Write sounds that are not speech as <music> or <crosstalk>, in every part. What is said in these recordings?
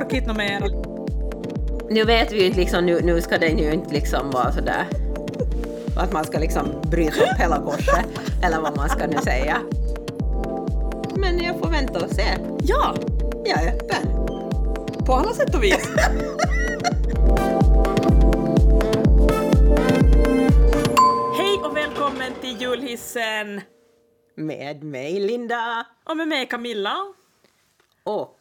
riktigt något mer. Nu vet vi ju liksom, nu, nu ska den ju inte liksom vara sådär att man ska liksom bryta upp hela korset eller vad man ska nu säga. Men jag får vänta och se. Ja, Jag är öppen. på alla sätt och vis. <laughs> Hej och välkommen till julhissen! Med mig Linda Och med mig Camilla. och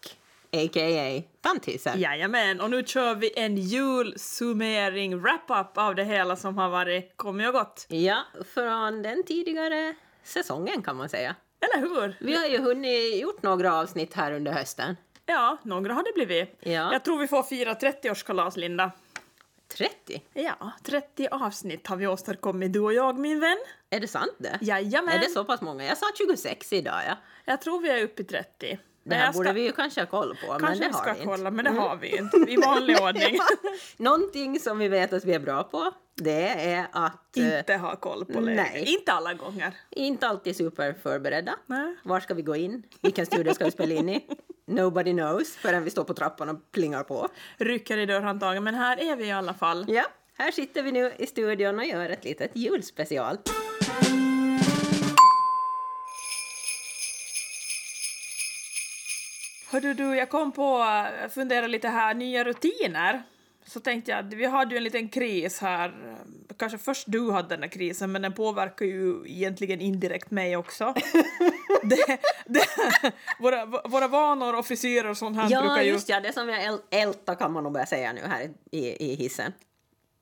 a.k.a. Tantisen. Jajamän, och nu kör vi en julsummering, wrap-up av det hela som har varit, kommit och gått. Ja, från den tidigare säsongen kan man säga. Eller hur? Vi har ju hunnit gjort några avsnitt här under hösten. Ja, några har det blivit. Ja. Jag tror vi får fira 30-årskalas, Linda. 30? Ja, 30 avsnitt har vi åstadkommit, du och jag, min vän. Är det sant det? Jajamän. Är det så pass många? Jag sa 26 idag ja. Jag tror vi är uppe i 30. Det Men här jag ska- borde vi ju kanske ha koll på, men Kanske det vi har ska vi kolla, inte. Mm. men det har vi inte. I <laughs> vanlig ordning. Ja. Någonting som vi vet att vi är bra på, det är att eh, Inte ha koll på Nej. läget. Inte alla gånger. inte alltid superförberedda. Nej. Var ska vi gå in? Vilken studio ska vi spela <laughs> in i? Nobody knows förrän vi står på trappan och plingar på. Rycker i dörrhandtagen, men här är vi i alla fall. Ja, här sitter vi nu i studion och gör ett litet julspecial. Hördu du, jag kom på, eh, fundera lite här, nya rutiner. Så tänkte jag, vi hade ju en liten kris här. Kanske först du hade den här krisen, men den påverkar ju egentligen indirekt mig <laughs> också. det, det, våra, våra vanor och frisyrer och sånt här Ja, brukar ju... just ja, det som jag äl- ältar kan man nog börja säga nu här i, i hissen.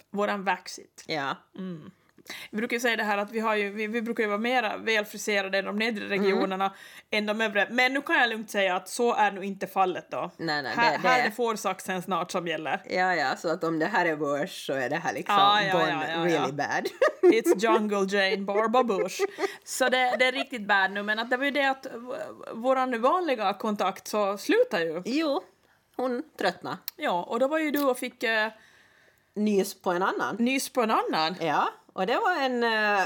Våran vaxit. Ja, Mm. Vi brukar ju säga det här att vi, har ju, vi, vi brukar ju vara mer välfriserade i de nedre Mm. regionerna än de övre. Men nu kan jag lugnt säga att så är nu inte fallet då. Nej, nej, här, det- det- här är det fårsaxen snart som gäller. ja, ja, så att om det här är worse så är det här liksom Ja, ja, gone ja, ja, ja. really bad. <laughs> It's Jungle Jane, Barbara Bush. Så det, det är riktigt bad nu, men att det var ju det att vår vanliga kontakt så slutar ju. jo, hon tröttnade. Ja, och då var ju du och fick eh, Nys på en annan. nys på en annan. Ja, och det var en eh,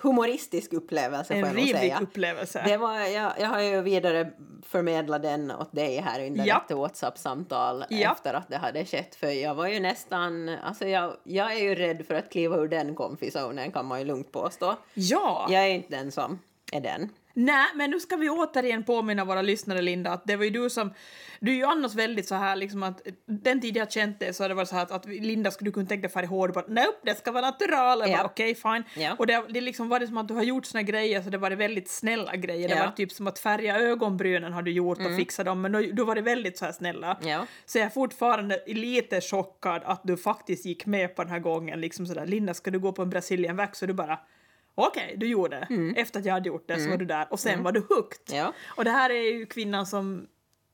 humoristisk upplevelse får En jag nog rivig säga. upplelse. Det var, jag, jag har ju vidare förmedlat den åt dig här under Ja. ett WhatsApp-samtal Ja. efter att det hade skett. För jag var ju nästan, alltså jag, jag är ju rädd för att kliva ur den komfisonen kan man ju lugnt påstå. Ja! Jag är inte den som är den. Nej, men nu ska vi återigen påminna våra lyssnare, Linda, att det var ju du som... Du är ju annars väldigt så här liksom att... Den tid jag känt dig så har det varit så här att, att Linda, skulle du kunna tänka dig färg hår? Du bara nope, det ska vara natural. Jag bara, Ja. Okej, fine. Ja. Och det, det liksom var det som att du har gjort såna grejer så det var det väldigt snälla grejer. Det Ja. Mm. var typ som att färga ögonbrynen har du gjort och fixa dem, men då, då var det väldigt så här snälla. Ja. Så jag är fortfarande lite chockad att du faktiskt gick med på den här gången. Liksom sådär, Linda, ska du gå på en Brazilian wax? Och du bara, okej, du gjorde det. Efter att jag hade gjort det så var du där och sen var du hooked. Mm. Ja. Och det här är ju kvinnan som,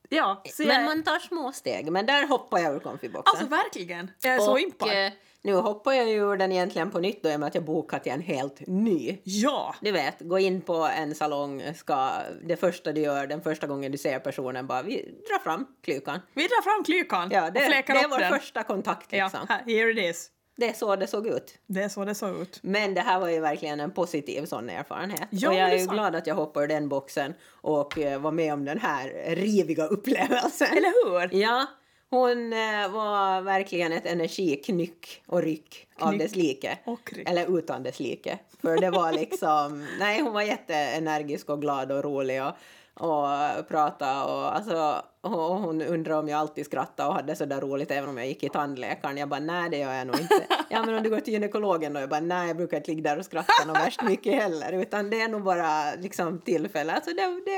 ja, så jag, Men man tar små steg, men där hoppar jag ur komfiboxen. alltså verkligen, jag är så impad. eh, nu hoppar jag ju ur den egentligen på nytt då i och med att jag bokat till en helt ny ja, Du vet, gå in på en salong, ska, det första du gör, den första gången du ser personen, bara vi drar fram klykan. vi drar fram klykan Ja, och det, det fläkar är upp vår den. första kontakt liksom. ja, här, here it is. Det är så det såg ut. Det är så det såg ut. Men det här var ju verkligen en positiv sån erfarenhet. Ja, och men jag det är är ju sant. glad att jag hoppade ur den boxen och eh, var med om den här riviga upplevelsen. Eller hur? Ja, hon eh, var verkligen ett energiknyck och ryck av Knyck dess like. och ryck. Eller utan dess like. För det var liksom, nej hon var jätteenergisk och glad och rolig och, och pratade och alltså och hon undrade om jag alltid skrattade och hade sådär roligt även om jag gick i tandläkaren. Jag bara nej det gör jag nog inte. Ja men om du går till gynekologen då? Jag bara nej jag brukar inte ligga där och skratta något värst mycket heller utan det är nog bara liksom tillfälle. Alltså det, det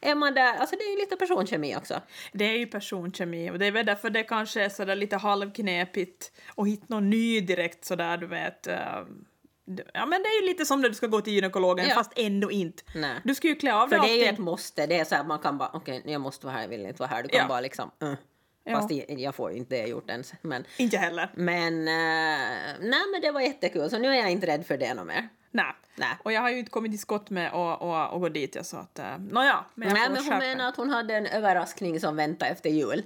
är man där, alltså det är ju lite personkemi också. Det är ju personkemi och det är väl därför det kanske är sådär lite halvknepigt att hitta någon ny direkt sådär du vet. eh, det- Ja men det är ju lite som när du ska gå till gynekologen Ja. fast ändå inte. Nej. Du ska ju klä av För dig det är ju ett allting. måste, det är så här, man kan bara okej jag måste vara här, jag vill inte vara här, du kan Ja. bara liksom uh. Ja. Fast jag, jag får ju inte det gjort ens. Men, Inte jag heller. men, eh, nej, men det var jättekul, så nu är jag inte rädd för det något mer. Nej. Nej. Och jag har ju inte kommit till skott med att, att, att gå dit jag sa att eh, nåja, men jag Nej, får men hon skärpa mig. menar att hon hade en överraskning som väntade efter jul.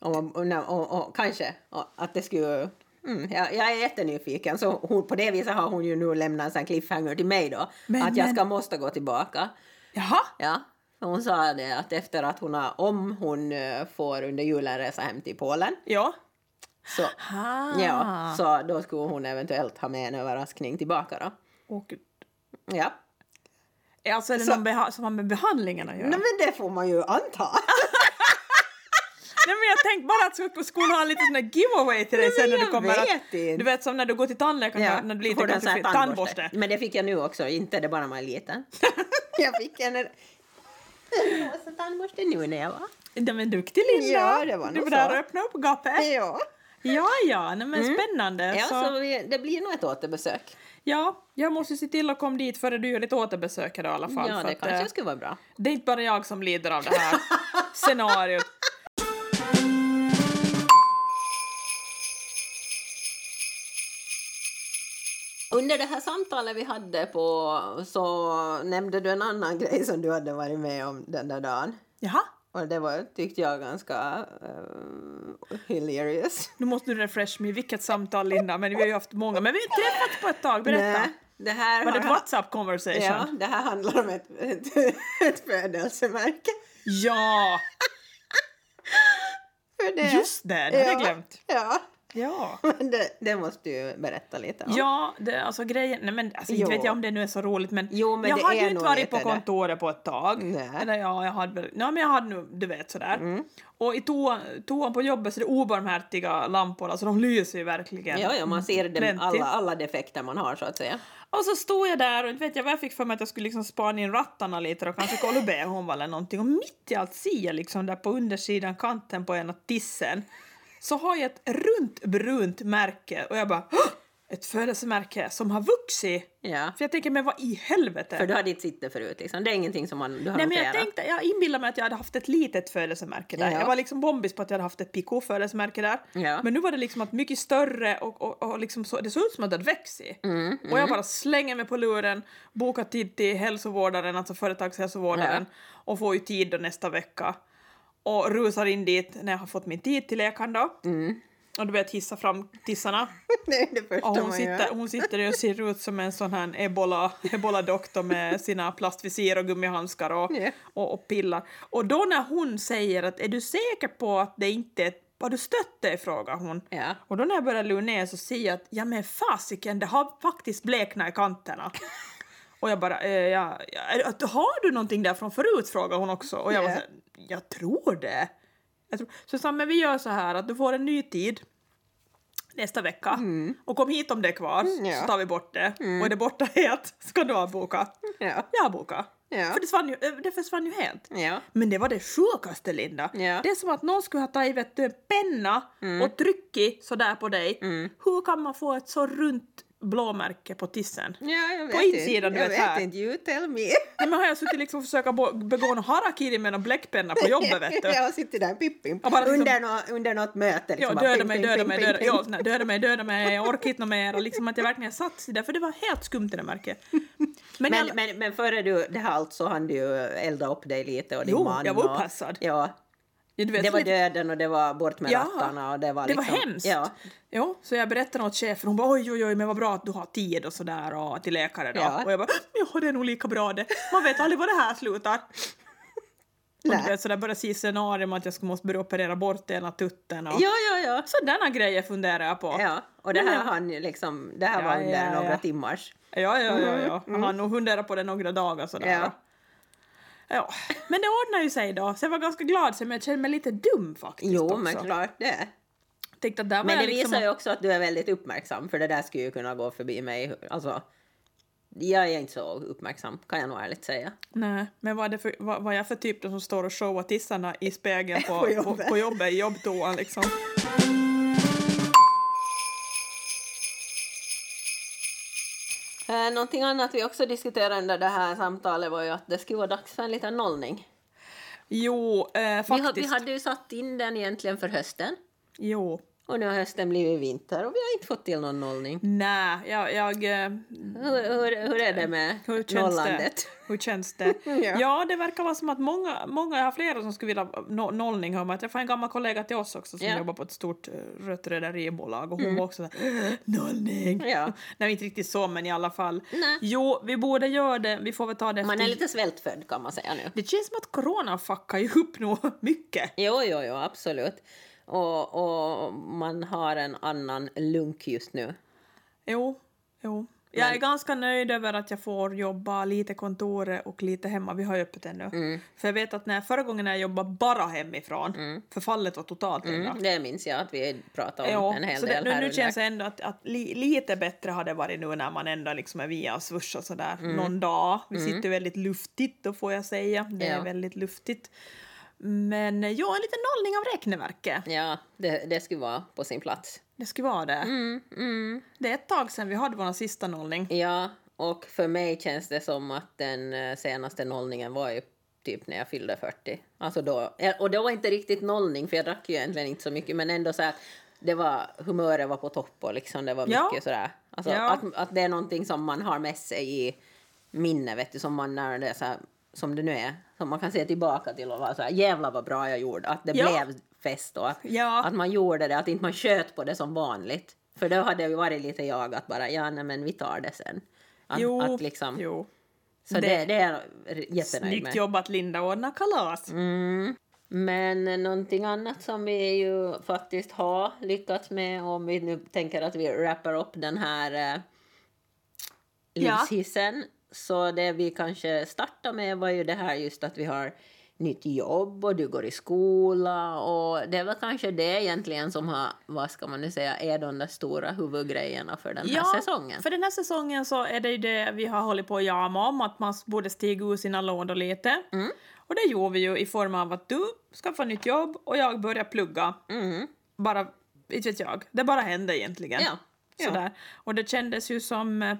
Och, och, och, och kanske och, att det skulle... Mm, jag, jag är jättenyfiken, så hon, på det viset har hon ju nu lämnat en sån här cliffhanger till mig då. Men- att jag men- ska måste gå tillbaka. Jaha, Ja. Hon sa det att efter att hon har, om hon eh, får under julen resa hem till Polen, Ja. så, Ha. ja, så då skulle hon eventuellt ha med en överraskning tillbaka då. Och, Ja. alltså är det Så- någon beha- som har med behandlingen att göra? Nej men det får man ju anta. Nej men jag tänkte bara att skulle- skulle hon ha en liten sån där giveaway till dig Nej, sen men när du jag kommer vet att, inte. Du vet som när du går till tandläkaren när du blir får liten du en kanske sån här fin- tandborste. Men det fick jag nu också, inte det bara man är liten. <laughs> jag fick en en rosa tandborste nu när jag var. Nej men duktig Linda! Ja, det var du nog var där så. och öppnade upp gapet. Ja. Mm. Ja, ja, nej men spännande. Ja, så, så vi, det blir nog ett återbesök. ja, jag måste ju se till att komma dit före du gör ditt återbesök idag i alla fall. Ja, för det att, kanske eh, skulle vara bra. det är inte bara jag som lider av det <laughs> här scenariot. Under det här samtalet vi hade på så nämnde du en annan <laughs> grej som du hade varit med om den där dagen. Jaha, Och det var, tyckte jag ganska eh, hilarious. nu måste du refresh mig. Vilket samtal Linda, men vi har ju haft många. Men vi har inte träffats på ett tag, berätta. Nej, det här Var det har- ett WhatsApp conversation? Ja, det här handlar om ett, ett, <laughs> ett födelsemärke. Ja, För det, just det, det hade jag glömt. Ja, Ja. men det, det måste du berätta lite om. Ja, det, alltså grejen, nej men alltså, inte Jo. vet jag om det nu är så roligt men, Jo, men jag det hade är ju inte nog varit lite på det. kontoret på ett tag. Nej. Mm. Eller ja, jag hade väl, ja men jag hade nu, du vet sådär. Och i toa- toan på jobbet så är det obarmhärtiga lampor, alltså de lyser ju verkligen. ja, ja man ser dem, Plenty. alla, alla defekter man har så att säga. Och så stod jag där och inte vet jag vad jag fick för mig att jag skulle liksom spana in rattarna lite och kanske kolla bhn eller någonting och mitt i allt ser jag liksom där på undersidan kanten på ena tissen så har jag ett runt brunt märke och jag bara "Hå! ett födelsemärke som har vuxit Ja. för jag tänker, men vad i helvete? För du hade inte sett det förut liksom. Det är ingenting som man, du har Nej, men noterat. jag, <laughs> tänkte, jag inbillade mig att jag hade haft ett litet födelsemärke där. Ja. Jag var liksom bombis på att jag hade haft ett PK-födelsemärke där. Ja. Men nu var det liksom att mycket större och, och, och liksom så, det såg ut som att det hade växt i. Mm, Och jag bara slänger mig på luren, bokar tid till hälsovårdaren, alltså företagshälsovårdaren, och får ju tid då nästa vecka. Och rusar in dit när jag har fått min tid till läkaren då. Mm. Och du vet hissa fram tissarna. det är det första Ja, hon, man sitter, gör. hon sitter där och ser ut som en sån här ebola, ebola-doktor med sina plastvisir och gummihandskar och, Ja. och, och pillar. Och då när hon säger att är du säker på att det inte är ett- har du stött dig? frågar hon. Ja. Och då när jag börjar lugna ner så ser jag att ja men fasiken det har faktiskt bleknat i kanterna. Och jag bara, eh, ja, ja, är- att- har du någonting där från förut? frågar hon också. Och jag bara, Ja. så här, jag tror det. Jag tror. Så sa hon, men vi gör så här att du får en ny tid nästa vecka. Och kom hit om det är kvar, Mm, ja. Mm. så tar vi bort det. Och är det borta helt ska du avboka. Ja. Jag avbokar. Ja. För det försvann, ju, eh, det försvann ju helt. Ja. Men det var det sjukaste, Linda. Ja. Mm. Det är som att någon skulle ha tagit vet du, en penna och tryckt sådär på dig. Hur kan man få ett så runt blåmärke på tissen? Ja, jag vet insidan, du inte. Jag vet vet här. inte, you tell me. Nej, men har jag suttit liksom och försökt bo- begå någon harakiri med någon bläckpenna <laughs> på jobbet, vet <laughs> du? jag har suttit där pippin Ja, bara liksom- under, nå- under något möte. Ja, Liksom, bara döda ping, mig, ping, döda ping, mig, ping, döda, ping. ja, nej, döda mig, döda mig, jag orkar inte något mer. Och liksom att jag verkligen satt där, för det var helt skumt det där <laughs> märket. Men, Men, jag, men, men före du det här allt så hann du ju elda upp dig lite och din Jo, man. jag var och- uppassad. Ja, ja, du vet, det var lite- döden och det var bort med Ja, rattarna och det var det liksom... var hemskt. Ja, Jo, så jag berättade åt chefen, hon bara oj oj oj men vad bra att du har tid och sådär och till läkare då. Ja. Och jag bara ja det är nog lika bra det, man vet aldrig var det här slutar. Och du Nej. vet, så där började se scenarium att jag skulle måste börja operera bort ena tutten och ja, ja. ja. sådana grejer funderar jag på. ja. Och det Nej, här men- hann ju liksom, det här Ja, var under ja, några ja. timmars. Ja, ja, ja, ja. Jag har nog funderat på det några dagar sådär. Mm, Ja. Ja. Men det ordnar ju sig då, så jag var ganska glad sen men jag kände mig lite dum faktiskt Jo, också. men klart det. Tänkte att där var Men det jag liksom visar ju också att du är väldigt uppmärksam, för det där skulle ju kunna gå förbi mig. Alltså, jag är inte så uppmärksam, kan jag nog ärligt säga. Nej, men vad, är det för, vad, vad är jag för typ då som står och showar tissarna i <laughs> spegeln på, På på, jobbet. på, jobbet, i jobbtoan liksom? Eh, någonting annat vi också diskuterade under det här samtalet var ju att det skulle vara dags för en liten nollning. Jo, eh, Vi, ha- faktiskt. vi hade ju satt in den egentligen för hösten. Jo. Och nu har hösten blivit vinter och vi har inte fått till någon nollning. Nej, jag... jag eh, Hur, hur, hur är det med hur känns det? nollandet? Hur känns det? <laughs> Ja. ja. det verkar vara som att många, många jag har flera som skulle vilja no, nollning. Hör man. Jag träffade en gammal kollega till oss också som Ja. Mm. jobbar på ett stort eh, rött rederibolag och hon var också såhär nollning. Ja. <laughs> Nej, inte riktigt så men i alla fall. Nej. Jo, vi borde göra det. Vi får väl ta det Man är efter lite svältfödd kan man säga nu. Det känns som att corona fuckar ju upp nog mycket. Jo, jo, jo, absolut. Och, och man har en annan lunk just nu. Jo, jo. Jag Men- är ganska nöjd över att jag får jobba lite kontoret och lite hemma. Vi har ju öppet ännu. Mm. För jag vet att när förra gången när jag jobbade bara hemifrån, förfallet var totalt redan. Mm, det minns jag att vi pratade om Jo, en hel så del det, nu, här nu under. känns det ändå att, att li, lite bättre har det varit nu när man ändå liksom är via och swoosh och sådär någon dag. Vi sitter väldigt luftigt då får jag säga. Det Ja. är väldigt luftigt. Men eh, ja, en liten nollning av räkneverket. Ja, det, det skulle vara på sin plats. Det skulle vara det. Mm, mm. Det är ett tag sedan vi hade vår sista nollning. Ja, och för mig känns det som att den eh, senaste nollningen var ju typ när jag fyllde 40. Alltså då, eh, och det var inte riktigt nollning, för jag drack ju egentligen inte så mycket, men ändå så här, det var, humöret var på topp och liksom det var Ja. mycket sådär. Alltså Ja. att, att det är någonting som man har med sig i minne, vet du, som man när det är så här, som det nu är, som man kan se tillbaka till och vara så här, jävlar vad bra jag gjorde, att det Ja. blev fest och att, Ja. att man gjorde det, att inte man sköt på det som vanligt. För då hade jag ju varit lite jag att bara, ja nej, men vi tar det sen. Att, jo, att liksom, jo. så det, det, det- är jag jättenöjd Snyggt med. jobbat Linda, ordna kalas. Mm. Men eh, någonting annat som vi ju faktiskt har lyckats med om vi nu tänker att vi wrappar upp den här eh, Ja. livshissen. Så det vi kanske startar med var ju det här just att vi har nytt jobb och du går i skola och det var kanske det egentligen som har, vad ska man nu säga, är de där stora huvudgrejerna för den här säsongen. för den här säsongen så är det ju det vi har hållit på och jama om, att man borde stiga ur sina lådor lite. Mm. Och det gjorde vi ju i form av att du skaffade nytt jobb och jag började plugga. Mm. Bara, inte vet jag, det bara hände egentligen. Ja. Ja. Sådär. Och det kändes ju som... Eh,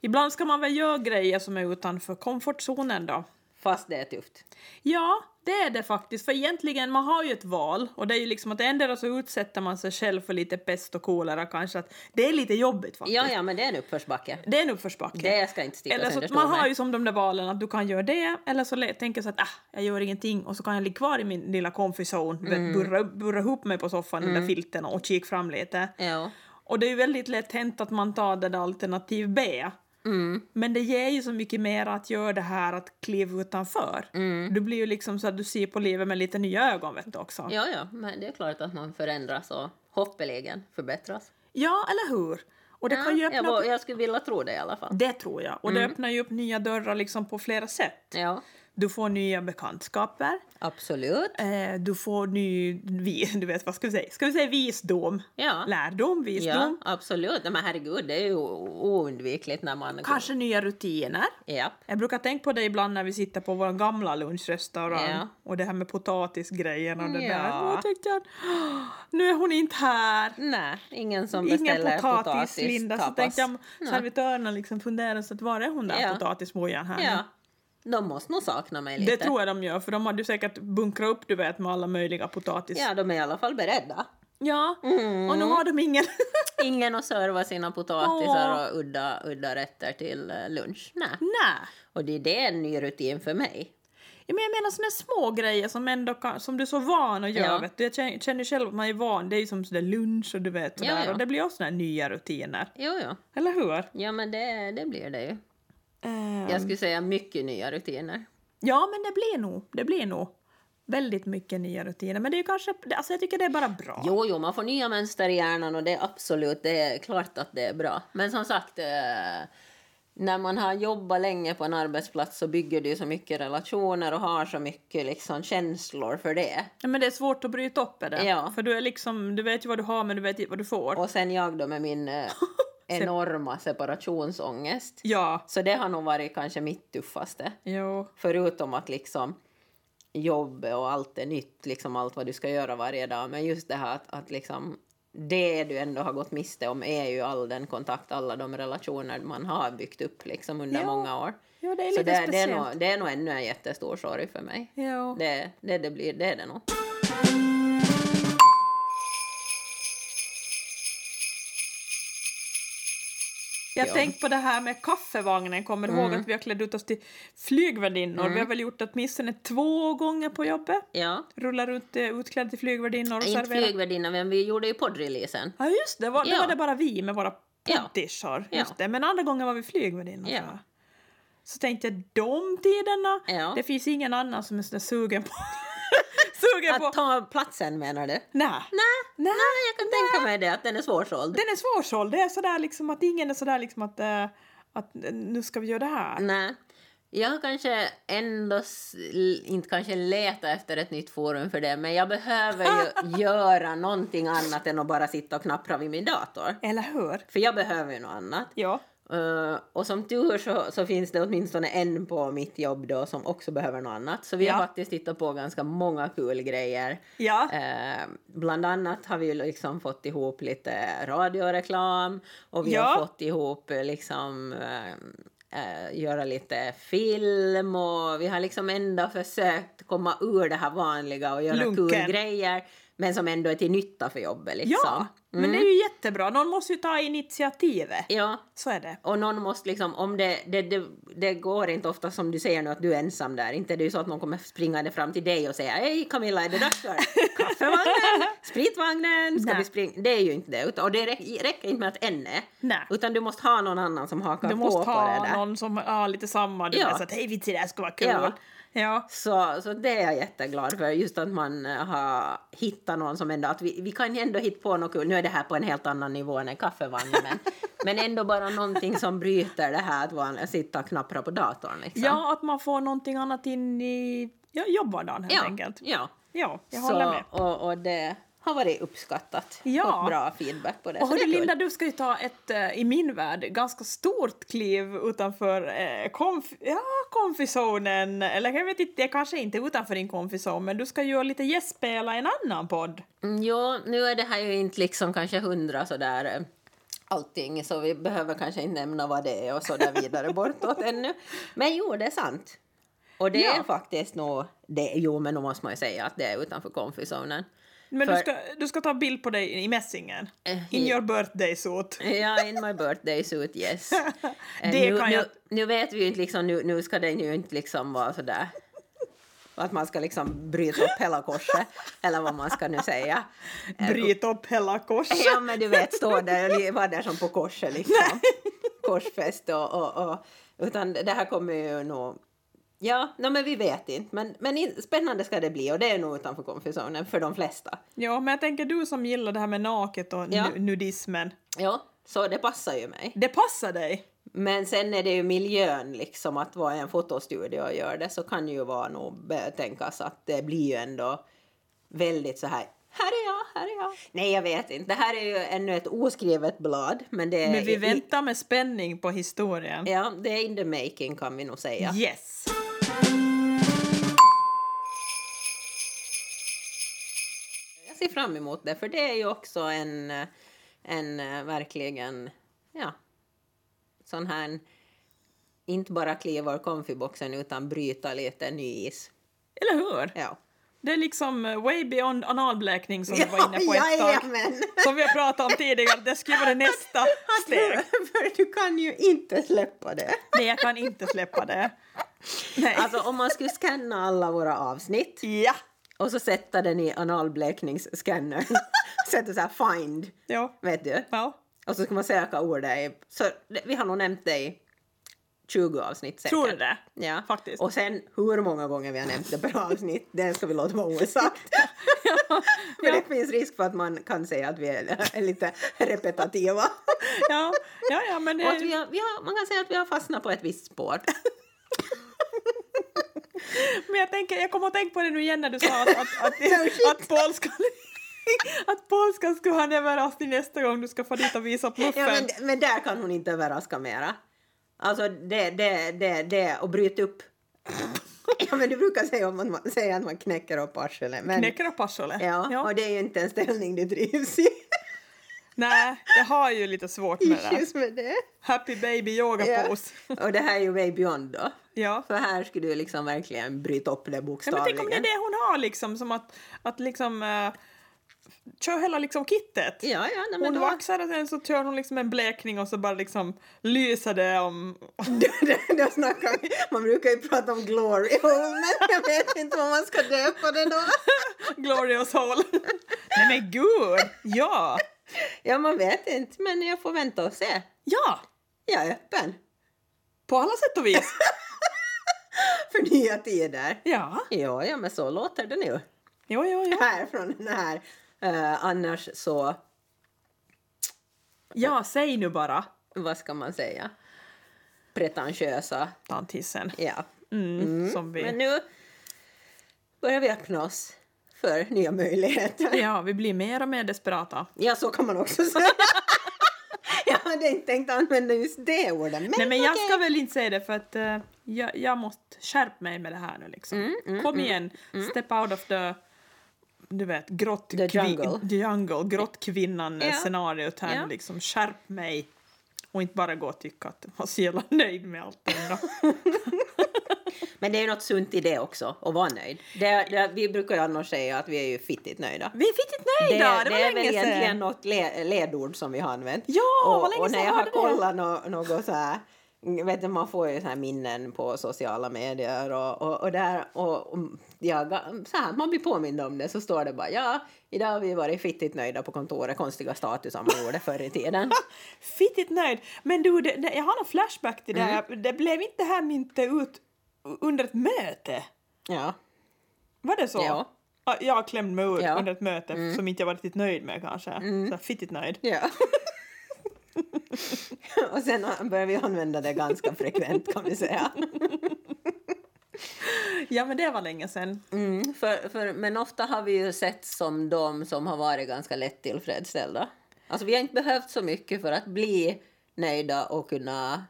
ibland ska man väl göra grejer som är utanför komfortzonen då. Fast det är tufft. Ja, det är det faktiskt. För egentligen, man har ju ett val. Och det är ju liksom att ändå så utsätter man sig själv för lite pest och kolera kanske. Att det är lite jobbigt faktiskt. Ja, ja, men det är en uppförsbacke. Det är en uppförsbacke. Det ska inte stickas Eller så under att man stol med. har ju som de där valen att du kan göra det eller så le- tänker jag så att ah, jag gör ingenting och så kan jag ligga kvar i min lilla comfy zone, du Mm. vet, burra, burra ihop mig på soffan under filten och kika fram lite. Ja. Och det är ju väldigt lätt hänt att man tar det där alternativ B. Mm. Men det ger ju så mycket mer att göra det här att kliva utanför. Mm. Du blir ju liksom så att du ser på livet med lite nya ögon vet du också. Ja, ja, men det är klart att man förändras och hoppeligen förbättras. Ja, eller hur? Och det Ja, kan ju jag, öppna var- Mm. upp... jag skulle vilja tro det i alla fall. Det tror jag. Och det öppnar ju upp nya dörrar liksom på flera sätt. Ja, Du får nya bekantskaper. absolut. Eh, du får ny, vi, <laughs> du vet vad ska vi säga, ska vi säga visdom? Ja, Lärdom, ja visdom, absolut. Nej, Men herregud, det är ju o- oundvikligt när man... kanske nya rutiner. Ja. Jag brukar tänka på det ibland när vi sitter på vår gamla lunchrestaurang Ja. och det här med potatisgrejen och det Ja. där. Och jag tänkte jag, "Åh, nu är hon inte här. Nej, ingen som Ingen beställer potatis, potatis, Linda. Så tapas. tänkte jag, servitörerna liksom funderar så att var är hon där Ja. potatismojan här? nu? Ja. De måste nog sakna mig lite. Det tror jag de gör, för de hade ju säkert bunkrat upp du vet med alla möjliga potatis. Ja, de är i alla fall beredda. Ja, Mm. och nu har de ingen. <laughs> Ingen att serva sina potatisar Åh. och udda, udda rätter till eh, lunch. Nej. Nej. Och det, det är en ny rutin för mig. Ja, men jag menar såna små grejer som, ändå kan, som du är så van att göra. Ja. Vet du? Jag känner, känner själv att man är van. Det är ju som sådär lunch och du vet sådär. Ja, ja. Och det blir också såna här nya rutiner. Jo, jo. Eller hur? Ja, men det, det blir det ju. Ehm, Jag skulle säga mycket nya rutiner. Ja, men det blir nog. Det blir nog väldigt mycket nya rutiner. Men det är ju kanske... det- Alltså jag tycker det är bara bra. Jo, jo, man får nya mönster i hjärnan och det är absolut, det är klart att det är bra. Men som sagt, eh, när man har jobbat länge på en arbetsplats så bygger du ju så mycket relationer och har så mycket liksom känslor för det. Ja, men det är svårt att bryta upp är det. Ja. För du är liksom... Du vet ju vad du har men du vet inte vad du får. <laughs> Och sen jag då med min eh, enorma separationsångest. Ja. Så det har nog varit kanske mitt tuffaste. Jo. Förutom att liksom jobbet och allt är nytt, liksom allt vad du ska göra varje dag. Men just det här att, att liksom det du ändå har gått miste om är ju all den kontakt, alla de relationer man har byggt upp liksom under Ja, många år. Jo, det är Så lite det, speciellt. det, är nog, det är nog ännu en jättestor sorg för mig. Jo. Det, det, det, blir, det är det nog. Jag Ja. Mm. tänkte på det här med kaffevagnen, kommer du ihåg att vi har klätt ut oss till flygvärdinnor? Vi har väl gjort det åtminstone två gånger på jobbet? Ja. Rullar runt eh, utklädd till flygvärdinnor och Inte serverar. flygvärdinna, men vi gjorde ju poddreleasen. Ja just det, var, då Ja. var det bara vi med våra Ja. poddisar. Ja. Just det. Men andra gången var vi flygvärdinnor. Ja. så. Så tänkte jag, de tiderna, Ja. det finns ingen annan som är så där sugen på... <laughs> sugen på... Att ta platsen menar du? Nej. Nej, Nej. nej, jag kan tänka mig det, att den är svårsåld. Den är svårsåld, det är sådär liksom att ingen är sådär liksom att, eh, att eh, nu ska vi göra det här. Nej. Jag kanske ändå, s- l- inte kanske letar efter ett nytt forum för det, men jag behöver ju göra någonting annat än att bara sitta och knappra vid min dator. Eller hur? För jag behöver ju något annat. Ja. Eh, och som tur så, så finns det åtminstone en på mitt jobb då som också behöver något annat. Så vi har Ja. faktiskt tittat på ganska många kul grejer. Ja. Eh, bland annat har vi ju liksom fått ihop lite radioreklam och vi har Ja. fått ihop eh, liksom eh, eh, göra lite film och vi har liksom ändå försökt komma ur det här vanliga och göra kul Lunken. grejer men som ändå är till nytta för jobbet liksom. Ja, men det är ju jättebra. Någon måste ju ta initiativet. ja. Så är det. Och någon måste liksom, om det, det, det, det går inte ofta som du säger nu att du är ensam där, inte det är ju så att någon kommer springande fram till dig och säga hej Camilla är det dags för kaffevagnen, spritvagnen, ska Nej. vi springa? Det är ju inte det, utan- och det räcker, räcker inte med att en är, Nej. utan du måste ha någon annan som hakar Du på måste på det ha där. någon som har lite samma. Du Ja. ja. så att hej vitsi, det här ska vara kul. Ja. ja. Så, så det är jag jätteglad för, just att man eh, har hittat någon som ändå, att vi, vi kan ju ändå hitta på något kul, nu är det här på en helt annan nivå än en kaffevagn, men, men ändå bara någonting som bryter det här att vara, sitta och knappra på datorn liksom. Ja, att man får någonting annat in i ja, jobbvardagen helt ja, enkelt. Ja, Ja, jag så, håller med. Och, och det har varit uppskattat. Ja. Fått bra feedback på det. Och så det hörru är kul. Linda, du ska ju ta ett, eh, i min värld, ganska stort kliv utanför eh, konf- ja, konfisonen. Eller jag vet inte, det kanske inte är utanför din konfison, men du ska ju lite gästspela i en annan podd. Mm, Ja, nu är det här ju inte liksom kanske hundra sådär eh, allting så vi behöver kanske inte nämna vad det är och så där <laughs> vidare bortåt ännu. Men jo, det är sant. Och det Ja. är faktiskt nog, det, jo men då måste man ju säga att det är utanför konfisonen. Men För- du, ska, du ska ta bild på dig i mässingen. Eh, In i- your birthday suit. Ja, in my birthday <laughs> suit, yes. Eh, Det nu, kan nu, jag- nu vet vi ju inte liksom, nu, nu ska den ju inte liksom vara sådär att man ska liksom bryta upp hela korset, eller vad man ska nu säga. Eh, Bryt upp hela korset. Ja, men du vet, stå där <laughs> och vara där som på korset liksom. Korsfäst och, och, och... Utan det här kommer ju nog... Ja, no, men vi vet inte. Men, men in- spännande ska det bli och det är nog utanför konfessionen för de flesta. Ja, men jag tänker du som gillar det här med naket och Ja. nu- nudismen. Ja, så det passar ju mig. Det passar dig! Men sen är det ju miljön liksom, att vara i en fotostudio och göra det så kan ju vara nog eh, tänkas att det blir ju ändå väldigt så här här är jag, här är jag. Nej, jag vet inte. Det här är ju ännu ett oskrivet blad, men det är Men vi Eh, i- Eh, väntar med spänning på historien. Ja, det är in the making kan vi nog säga. Yes! Jag ser fram emot det, för det är ju också en, eh, en eh, verkligen, ja, sån här, en- inte bara kliva ur konfiboxen utan bryta lite ny is. Eller hur? Ja. Det är liksom eh, way beyond analblekning som du var inne på ett tag. jajamän! Som vi har pratat om tidigare, det skulle vara det nästa steg. För, för du kan ju inte släppa det. Nej, jag kan inte släppa det. Nej. Alltså om man skulle scanna alla våra avsnitt ja. och så sätta den i analblekningsscannern, <laughs> sätta så här find, Ja. vet du? ja. Och så ska man söka ordet i... Så det- vi har nog nämnt det i 20 avsnitt säkert. Tror du <laughs> det? Ja. Faktiskt. Och sen hur många gånger vi har nämnt det per avsnitt, det ska vi låta vara osagt. <laughs> För Ja. det finns risk för att man kan säga att vi är, <laughs> är lite repetitiva. <laughs> <laughs> Ja, ja, ja men det... Och att vi har, vi har, man kan säga att vi har fastnat på ett visst spår. Men jag, tänker, jag kommer att tänka på det nu igen när du sa att, att, <laughs> att, att polskan... <laughs> Att polskan skulle ha en överraskning nästa gång du ska få dit och visa <laughs> Ja, pluffen. men, men där kan hon inte överraska mera. Alltså det, det, det, det och bryt upp. <laughs> Ja, men du brukar säga, om man, man, säga att man knäcker upp arslet. Men... Knäcker och Pascholle? Ja, och det är ju inte en ställning du trivs <laughs> i. Nej, jag har ju lite svårt med <laughs> det. Issues med det. Happy baby yoga Ja. pose. Och det här är ju way beyond då. Ja. För här skulle du liksom verkligen bryta upp det Ja, men bokstavligen. tänk om det är det hon har liksom, som att, att liksom... eh, kör hela liksom kittet. Ja, ja, nej, men Hon då... vaxar och sen så kör hon liksom en blekning och så bara liksom lyser det om... <laughs> då snackar vi. Man brukar ju prata om glory <laughs> hole, men jag vet inte vad man ska döpa det då. Glorious <laughs> Hall. Nej men gud! Ja! Ja, man vet inte, men jag får vänta och se. Ja! Jag är öppen På alla sätt och vis. <laughs> för nya tider. Ja. Ja, ja, men så låter det nu. Jo, jo, jo. Här från den här. Eh, annars så, Ja, säg nu bara. vad ska man säga, pretentiösa. Tantissen. Ja. Mm, Som vi... Men nu börjar vi öppna oss för nya möjligheter. Ja, vi blir mer och mer desperata. Ja, så kan man också säga. <laughs> jag hade inte tänkt använda just det ordet, men, Nej men jag okej. ska väl inte säga det för att eh, jag, jag måste skärpa mig med det här nu liksom. Kom igen, step out of the du vet, grott The jungle. jungle grottkvinnan Ja. scenariot här Ja. nu liksom. Skärp mig och inte bara gå och tycka att jag var så jävla nöjd med allt ändå. Men det är ju något sunt i det också, att vara nöjd. Det, det, vi brukar ju annars säga att vi är ju fittigt nöjda. <laughs> Vi är fittigt nöjda, det, var det är länge väl egentligen sedan. något le, ledord som vi har använt. Ja, och, vad länge och när sedan jag jag har hörde det. kollat no, något så här, vet du, man får ju så här minnen på sociala medier och, och, och där och, och jag, så här, man blir påmind om det så står det bara ja, idag har vi varit fittigt nöjda på kontoret, konstiga statusar man gjorde förr <laughs> i tiden. Fittigt nöjd. Men du, det, det, jag har någon flashback till det här. Det blev inte det här myntet ut under ett möte. Ja, Var det så? Ja. Ja, Jag klämde mig ur Ja. under ett möte som inte jag var riktigt nöjd med kanske. Så här, fittigt nöjd. ja. <laughs> och sen börjar vi använda det ganska frekvent kan vi säga. Ja men det var länge sedan. Mm, för, för, men ofta har vi ju sett som de som har varit ganska lätt tillfredsställda. Alltså vi har inte behövt så mycket för att bli nöjda och kunna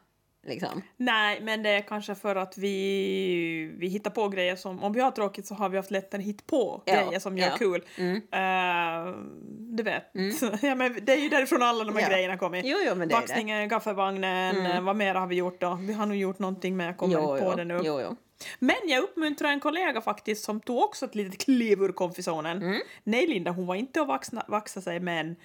liksom. Nej men det är kanske för att vi, vi hittar på grejer som, om vi har tråkigt så har vi haft lättare att hitta på Ja, grejer som gör ja. kul. Eh, du vet, <laughs> ja, men det är ju därifrån alla de här Ja. grejerna kommer. Jo, jo, men det är det. Vaxningen, gaffelvagnen, eh, vad mer har vi gjort då? Vi har nog gjort någonting men jag kommer inte på jo, det nu. Jo, jo. Men jag uppmuntrar en kollega faktiskt som tog också ett litet kliv ur komfisonen. Mm. Nej Linda, hon var inte att vaxna, vaxa sig men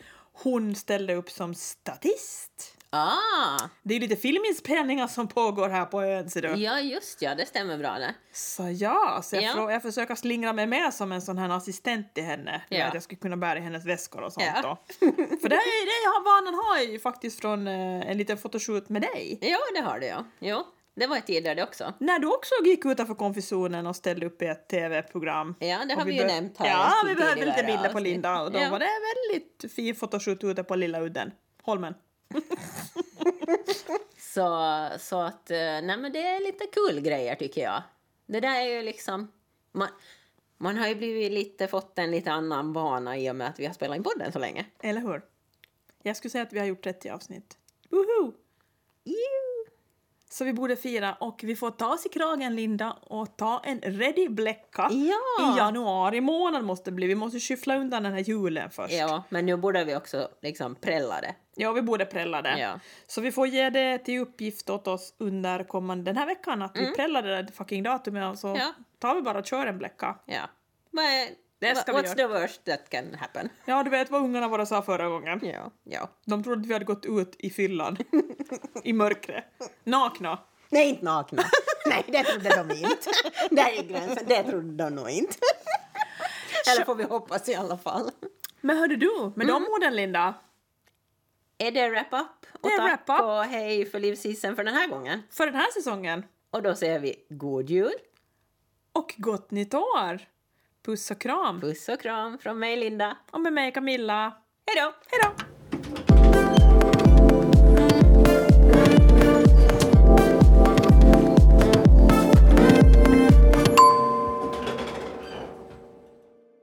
hon ställde upp som statist. Ah, Det är ju lite filminspelningar som pågår här på ön ser du. ja just ja, det stämmer bra det. Så ja, så jag, Ja. frå- jag försöker slingra mig med som en sån här assistent till henne. Du Ja. vet, Jag skulle kunna bära hennes väskor och sånt Ja. då. För det, är- det har vanan har jag ju faktiskt från eh, en liten fotoshoot med dig. Jo, det har du ja. Jo, det var tidigare det också. När du också gick utanför konfessionen och ställde upp i ett tv-program. Ja, det Och har vi, ju bör- nämnt här. Ja, i vi behövde lite tidigare bilder på avsnitt. Linda och då ja. var det väldigt fin fotoshoot ute på Lilla Udden, Holmen. Så, så att, eh, nej men det är lite kul grejer tycker jag. Det där är ju liksom, man, man har ju blivit lite, fått en lite annan bana i och med att vi har spelat in podden så länge. Eller hur? Jag skulle säga att vi har gjort 30 avsnitt. Woho! Så vi borde fira och vi får ta oss i kragen Linda och ta en ready bläcka. Ja. I januari månad måste det bli. Vi måste skyffla undan den här julen först. Ja, men nu borde vi också liksom prälla det. Ja, vi borde prälla det. Ja. Så vi får ge det till uppgift åt oss under kommande den här veckan att vi prällar det där fucking datumet och så Mm. Ja. tar vi bara och kör en bläcka. Ja. Men, Det ska vi what's göra. the worst that can happen? Ja, du vet vad ungarna bara sa förra gången. Ja. ja. De trodde att vi hade gått ut i <laughs> fyllan. I mörkret. Nakna. Nej, inte nakna. <laughs> Nej, det trodde de inte. Där är gränsen, det trodde de nog <laughs> inte. Eller får vi hoppas i alla fall. Men hörde du, med Mm. de orden Linda, Är det wrap-up? Och Det är tack wrap-up. och hej för livsisen för den här gången. för den här säsongen. Och då säger vi god jul, Och gott nytt år! Puss och kram. puss och kram från mig Linda. Och med mig Camilla. Hej då! Hej då!